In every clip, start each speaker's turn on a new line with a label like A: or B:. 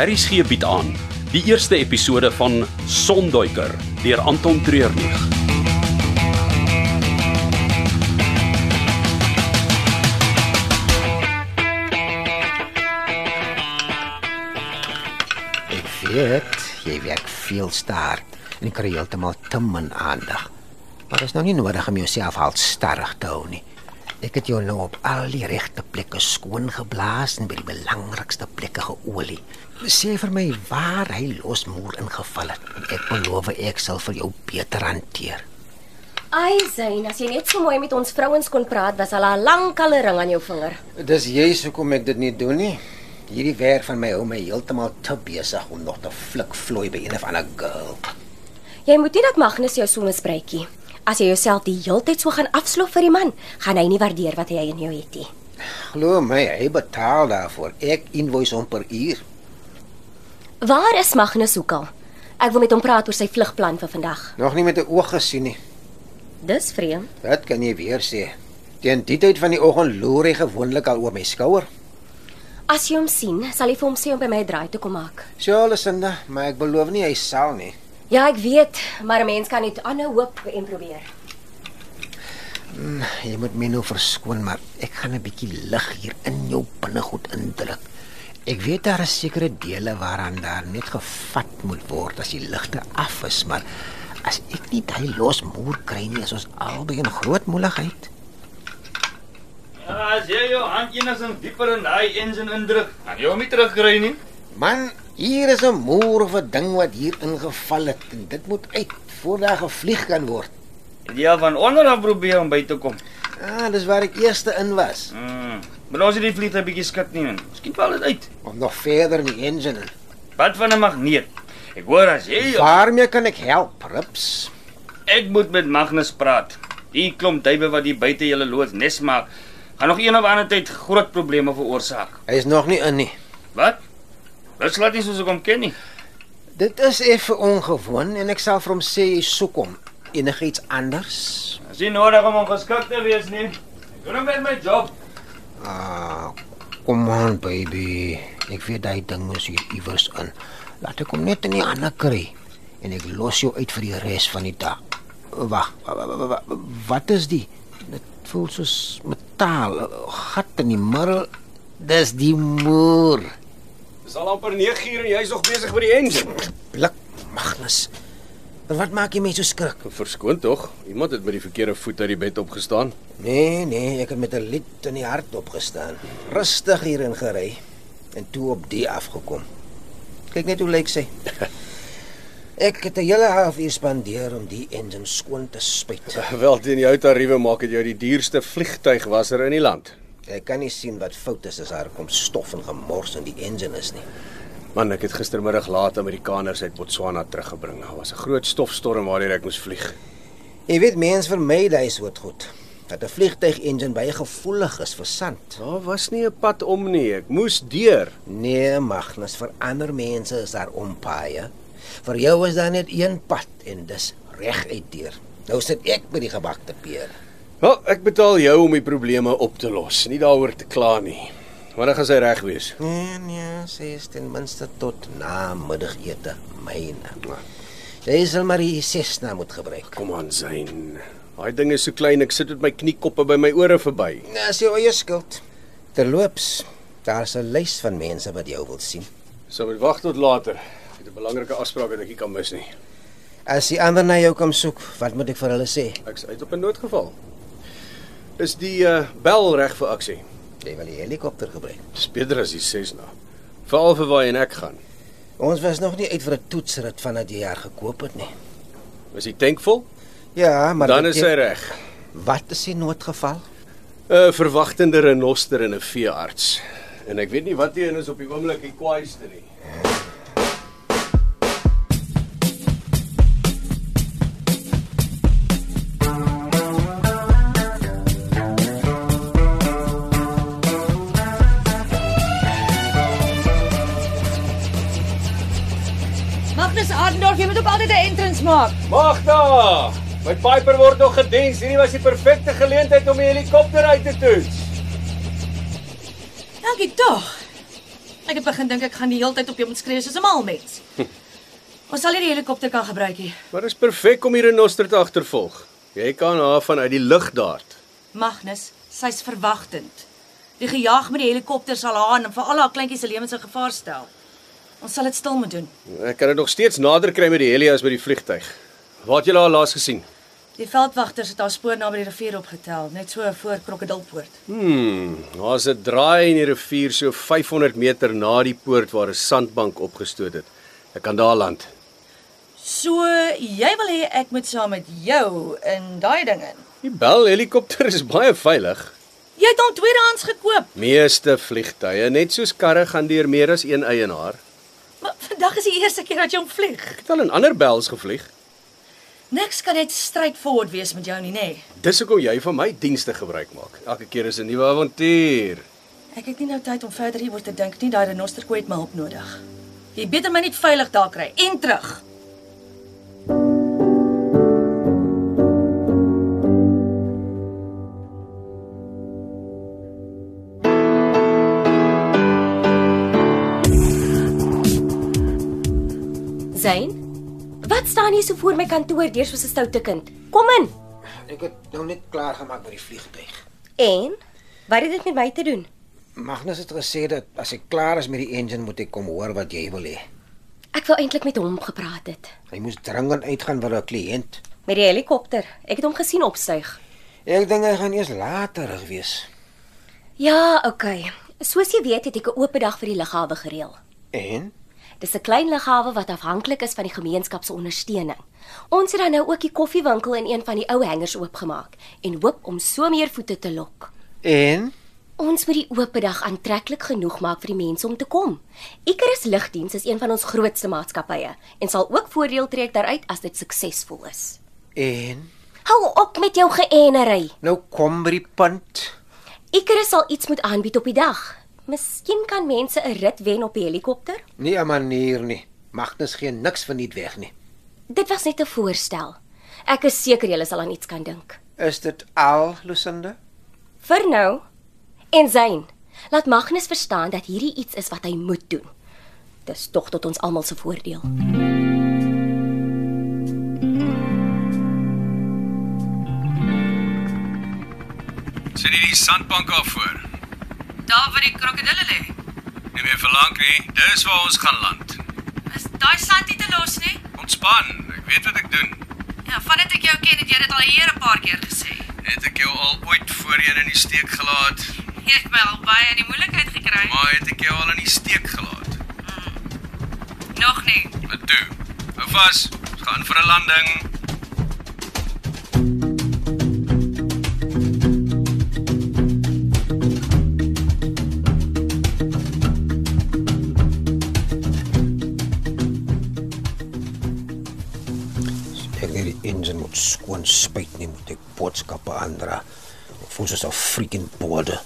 A: RSG bied aan die eerste episode van Sonduiker deur Anton Treurnig.
B: Ek weet, jy werk veel staar en ek kry heeltemal te min aandag. Maar dit is nou nie nodig om jouself al starig te hou nie. Ek het jou nou op al die regte plekke skoon geblaas en by die belangrikste plekke geolie. Sê vir my waar hy losmoer ingeval het. Ek beloof ek sal vir jou beter hanteer.
C: Ai, Zayn, as jy net so mooi met ons vrouens kon praat, was al 'n lang kalle ring aan jou vinger.
B: Dis juis hoekom ek dit nie doen nie. Hierdie werk van my hou my heeltemal te besig om nog te flik vloei by een of ander girl.
C: Jy moet nie dat Magnus jou sonnespreetjie. As jy jouself die heeltyd so gaan afsloof vir die man, gaan hy nie waardeer wat hy in jou het nie.
B: Glo my, hy betaal daarvoor. Ek invoice hom per uur.
C: Waar is Magnus Hoekal? Ek wil met hom praat oor sy vlugplan vir vandag.
B: Nog nie met 'n oog gesien nie.
C: Dis vreemd.
B: Wat kan jy weer sê? Teen die tyd van die oggend loer hy gewoonlik al oor my skouer.
C: As jy hom sien, sal jy vir hom sê om by my 'n draai te kom maak.
B: Sjoe, Lusinda, maar ek beloof nie hy sal nie.
C: Ja, ek weet, maar 'n mens kan net aanhou hoop en probeer.
B: Jy moet my nou verskoon, maar ek gaan 'n bietjie lig hier in jou binnegoed indruk. Ek weet daar is sekere dele waaraan daar net gevat moet word as die ligte af is, maar as ek nie daai losmoer kry nie, is ons albei in groot moeilikheid.
D: As jy jou Ah, hand enigstens dieper in daai engine indruk, gaan jy hom Nou, nie terugkry nie.
B: Man, hier is 'n moer of 'n ding wat hier ingeval het en dit moet uit voordat daar gevlieg kan word.
D: Het Jy Ja, van onder af probeer om by te kom.
B: Ah, dis waar ek eerste in was.
D: Mm. Maar ons het die vliegtuig bietjie skud nie. man. Miskien val dit uit.
B: Om nog verder in die engine.
D: Wat van 'n magneet? Ek hoor as jy
B: Waarmee kan ek help, Rips?
D: ek moet met Magnus praat. Die klomp duwe wat hier buite julle loods nes maak, gaan nog een of ander tyd groot probleme veroorsaak.
B: Hy is nog nie in nie.
D: Wat? Dit slaat nie soos ek hom ken nie.
B: Dit is effe ongewoon en ek sal vir hom sê jy soek hom enigiets anders.
D: As jy nodig om ongeskik te wees nie. Ek doen net my job.
B: Ah, kom aan, baby. Ek weet daai ding is hier iewers in. Laat ek hom net in die hande kry en ek los jou uit vir die res van die dag. Wag, wa- wa- wa- wa- wat is die? Dit voel soos metaal, 'n gat in die middel. Dis die moer.
E: Dis al amper 9 uur en jy's nog besig met die engine.
B: Blik, Magnus. En wat maak jy my so skrik?
E: Verskoon tog, iemand het met die verkeerde voet uit die bed opgestaan.
B: Nee, nee, ek het met 'n lied in die hart opgestaan. Rustig hierin gery en toe op die afgekom. Kyk net hoe lyk sy. Ek het 'n hele halfuur spandeer om die engine skoon te spuit.
E: Wel teen jou tariewe maak dit jou die duurste vliegtuigwasser in die land.
B: Ek kan nie sien wat fout is as daar kom stof en gemors in die engine is nie.
E: Man, ek het gistermiddag laat Amerikaners uit Botswana teruggebring. Daar was 'n groot stofstorm waardeur ek moes vlieg.
B: Jy weet mense vermy daai soort goed. Dat 'n vliegtyg engine baie gevoelig is vir sand.
E: Daar was nie 'n pad om nie. Ek moes deur.
B: Nee, Magnus, vir ander mense is daar ompaaie. Vir jou is daar net een pad en dis reguit deur. Nou sit ek by die gebakte peer.
E: Wel, ek betaal jou om die probleme op te los, nie daaroor te kla nie. Wanneer gaan sy reg wees?
B: Nee, nee, sê is ten minste tot na middagete myne. Jy sal maar die sesna moet gebruik.
E: Kom aan, Zain. Daai ding is so klein, ek sit met my kniekoppe by my ore verby.
B: Dis Nee, jou eie skuld. Terloops, daar's 'n lys van mense wat jou wil sien.
E: Sou moet wag tot later. Ek het 'n belangrike afspraak wat ek nie kan mis nie.
B: As die ander na jou kom soek, wat moet ek vir hulle sê?
E: Ek's uit op 'n noodgeval. Is die uh, bel reg vir aksie?
B: Jy wil die helikopter gebruik.
E: Dis beter as die Cessna. Veral vir waar jy en ek gaan.
B: Ons was nog nie uit vir 'n toetsrit vandat jy haar gekoop het nie.
E: Is die tank vol?
B: Ja, maar
E: Dan
B: dit
E: is hy reg.
B: Wat is die noodgeval?
E: 'n Verwagtende renoster en 'n veearts. En ek weet nie wat hier is op die oomblik die kwaaiste nie.
F: Magnus Adendorf, jy moet ook altyd 'n entrance maak.
D: Magda, my Piper word nog gedens. Hierdie was die perfekte geleentheid om die helikopter uit te toets.
F: Dankie tog. Ek het begin dink ek gaan die hele tyd op jou moet skree soos 'n mal mens. Ons sal nie die helikopter kan gebruik nie.
E: Maar dit is perfek om hier 'n renoster te agtervolg. Jy kan haar vanuit die lug daart.
F: Magnus, sy's verwagtend. Die gejaag met die helikopter sal haar en veral haar kleintjie se lewens in gevaar stel. Ons sal dit stil moet doen.
E: Ek kan dit nog steeds nader kry met die heli as by die vliegtyg. Waar het jy haar laas gesien?
F: Die veldwagters het haar spoor naby die rivier opgetel, net so voor Krokodilpoort.
E: Hmm, daar's 'n draai in die rivier so 500 meter na die poort waar 'n sandbank opgestoot het. Ek kan daar land.
F: So, jy wil hê ek moet saam met jou in daai ding in.
E: Die Bell helikopter is baie veilig.
F: Jy het hom tweedehands gekoop.
E: Meeste vliegtye, net soos karre, gaan deur meer as een eienaar.
F: Maar vandag is die eerste keer dat jy hom vlieg.
E: Ek het al in ander Bells gevlieg.
F: Niks kan net straightforward wees met jou nie, nê? Nee.
E: Dis hoekom jy van my dienste gebruik maak. Elke keer is 'n nuwe avontuur.
F: Ek het nie nou tyd om verder hieroor te dink nie. Daai renosterkoei het my hulp nodig. Jy beter my net veilig daar kry en terug.
C: Zain, wat staan jy so voor my kantoor deur soos 'n stoute kind? Kom in.
B: Ek het nou net klaar gemaak met die vliegtyg.
C: En wat het dit met my te doen?
B: Magnus het gesê dat as ek klaar is met die engine moet ek kom hoor wat jy wil hê.
C: Ek wou eintlik met hom gepraat het.
B: Hy moes dringend uitgaan vir 'n kliënt.
C: Met die helikopter. Ek het hom gesien opstyg.
B: Ek dink hy gaan eers later terug wees.
C: Ja, okay. Soos jy weet, het ek 'n oop dag vir die lughawe gereël.
B: En
C: Dis 'n klein lughawe wat afhanklik is van die gemeenskap se ondersteuning. Ons het dan nou ook die koffiewinkel in een van die ou hangers oopgemaak en hoop om so meer voete te lok.
B: en
C: Ons moet die oopdag aantreklik genoeg maak vir die mense om te kom. Icarus Lugdiens is een van ons grootste maatskappye en sal ook voordeel trek daaruit as dit suksesvol is.
B: en
C: Hou op met jou geënery.
B: nou kom by die punt.
C: Icarus sal iets moet aanbied op die dag. Miskien kan mense 'n rit wen op die helikopter.
B: Nie 'n manier nie. Magnus gee niks van dit weg nie.
C: Dit was net 'n voorstel. Ek is seker julle sal aan iets kan dink.
B: Is dit al, Lusinde?
C: Vir nou en Zain, laat Magnus verstaan dat hierdie iets is wat hy moet doen. Dis tog tot ons almal se voordeel.
E: Sit hierdie sandbank af voor.
F: Daar waar die krokodille lê.
E: Nie meer vir lank nie. Dis waar ons gaan land.
F: Is daai sand nie te los nie?
E: Ontspan. Ek weet wat ek doen.
F: Ja, vandat ek jou ken, het jy dit al hier 'n paar keer gesê.
E: Het ek jou al ooit voorheen in die steek gelaat?
F: Jy het my al baie in die moeilikheid gekry.
E: Maar het ek jou al in die steek gelaat?
F: Nog nie.
E: Maar toe, hou vas. Ons gaan vir 'n landing.
B: Ek weet die engine moet skoon spuit nie moet ek boodskappe aandra. Ek voel soos 'n freaking borde.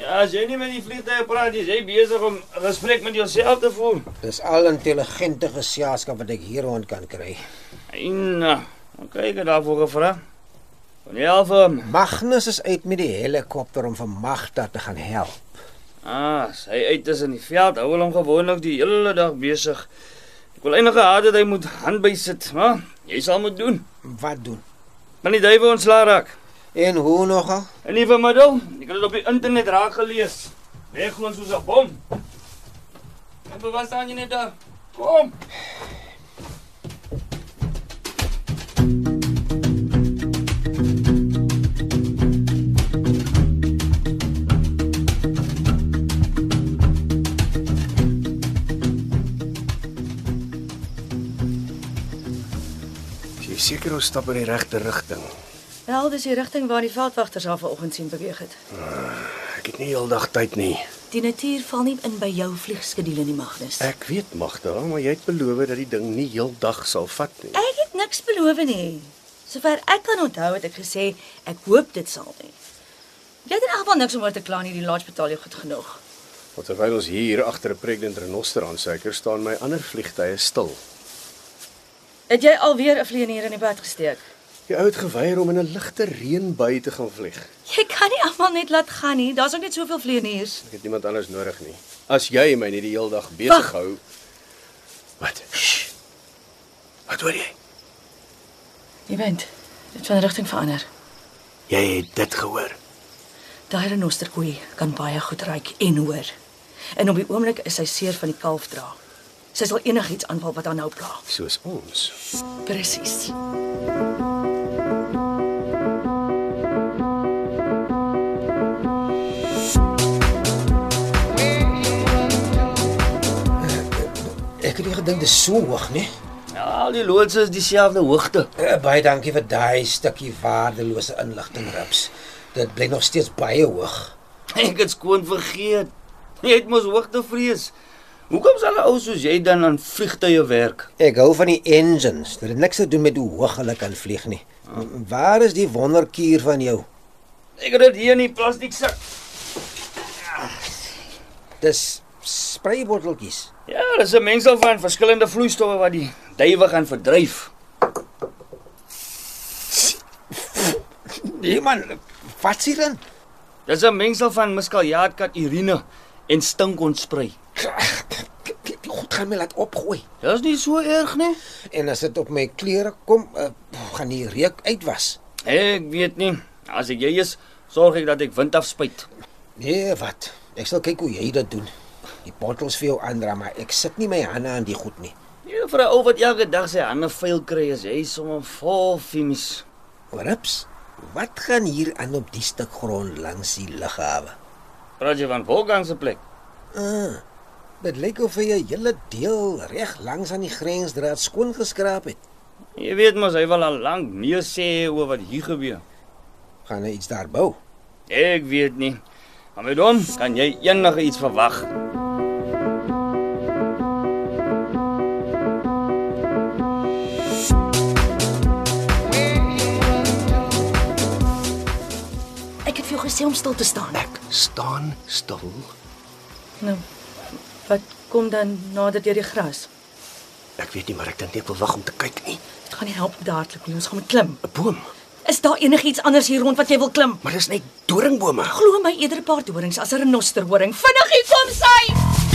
D: Ja, as jy nie met die vliegtye praat nie, is jy besig om 'n gesprek met jouself te voer.
B: Dis al intelligente geselskap wat ek hier rond kan kry.
D: En uh, okay, ek het daarvoor gevra. Van die eh, help hom.
B: Magnus is uit met die helikopter om vir Magda te gaan help.
D: Ah, as hy uit is in die veld, hou hulle hom gewoonlik die hele dag besig. Ek wil enige haat dat hy moet hand by sit, maar jy sal moet doen.
B: Wat doen?
D: Kan die duiwe ontslaa raak.
B: En hoe nogal?
D: In die middel, ek het dit op die internet raak gelees. Weg ons soos 'n bom. En bewas staan jy net daar. Kom.
E: Jy seker ons stap in die regte rigting.
F: Wel, dis die rigting waar die veldwagters haar vanoggend sien beweeg het.
E: Ek het nie heeldag tyd nie.
F: Die natuur val nie in by jou vliegskedule nie, Magnus.
E: Ek weet Magda, maar jy het beloof dat die ding nie heeldag sal vat nie.
F: Ek het niks beloof nie. Sover ek kan onthou het ek gesê ek hoop dit sal nie. Jy het in elk geval niks om oor te kla nie, die lodge betaal jou goed genoeg.
E: Want terwyl ons hier agter 'n pregnant renoster aansuiker, staan my ander vliegtye stil.
F: Het jy alweer 'n vleienier in die bed gesteek?
E: Die ou het geweier om in 'n ligte reënbui te gaan vlieg.
F: Jy kan nie almal net laat gaan nie. Daar's ook net soveel vleeniers.
E: Ek het niemand anders nodig nie. As jy my nie die hele dag besig
F: Wag.
E: hou. Wat? Sst. Wat hoor jy?
F: Die wind het van rigting verander.
E: Jy het dit gehoor.
F: Daai renosterkoei kan baie goed ruik en hoor. En op die oomblik is sy seer van die kalf dra. Sy sal enigiets aanval wat haar nou pla.
E: Soos ons.
F: Presies.
B: Ek het nie gedink dit is so hoog nie.
D: Ja, al die loodse is dieselfde hoogte.
B: Eh, Baie dankie vir daai stukkie waardelose inligting, Rips. Dit bly nog steeds baie hoog.
D: Ek het skoon vergeet. Jy het mos hoogtevrees. Hoekom sal 'n ou soos jy dan aan vliegtye werk?
B: Ek hou van die engines. Dit het niks te doen met hoe hoog hulle kan vlieg nie. M- Waar is die wonderkuur van jou?
D: Ek het dit hier in die plastiek sak.
B: Dis spraybotteltjies.
D: Ja, dis 'n mengsel van verskillende vloeistowwe wat die duwe gaan verdryf.
B: Nee man, wat s'n dan?
D: Dis 'n mengsel van miskaljaatkat urine en stinkontsprei.
B: Die die goed gaan my laat opgooi.
D: Dis nie so erg nie.
B: En as dit op my klere kom, uh, gaan die reuk uitwas.
D: Ek weet nie. As ek jy is, sorg ek dat ek wind afspuit.
B: Nee, wat? Ek sal kyk hoe jy dit doen. Die bottels vir jou aandra, maar ek sit nie my hande aan die goed nie.
D: Ja, vir 'n ou wat elke dag sy hande vuil kry, is hy sommer vol finis.
B: Rips, wat gaan hier aan op die stuk grond langs die lughawe?
D: Praat jy van Wolfgang se plek?
B: Ah, dit lyk of hy 'n hele deel reg langs aan die grensdraad skoon geskraap het.
D: Jy weet mos hy wil al lank nee sê oor wat hier gebeur.
B: Gaan hy iets daar bou?
D: Ek weet nie. Maar met hom kan jy enige iets verwag.
F: Ek het vir jou gesê om stil te staan.
E: Ek staan stil.
F: Nou, wat kom dan nader deur die gras?
E: Ek weet nie, maar ek dink nie ek wil wag om te kyk nie.
F: Dit gaan nie help om dadelik nie. Ons gaan moet klim.
E: 'n Boom,
F: Is daar enigiets anders hier rond wat jy wil klim?
E: maar dis net doringbome.
F: Glo my eerder 'n paar dorings as 'n renosterhoring. Vinnig hier kom sy.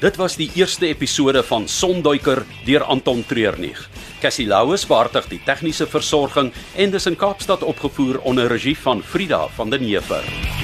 A: Dit was die eerste episode van Sonduiker deur Anton Treurnig. Cassie Louws behartig die tegniese versorging en dis in Kaapstad opgevoer onder regie van Frida van den Heever.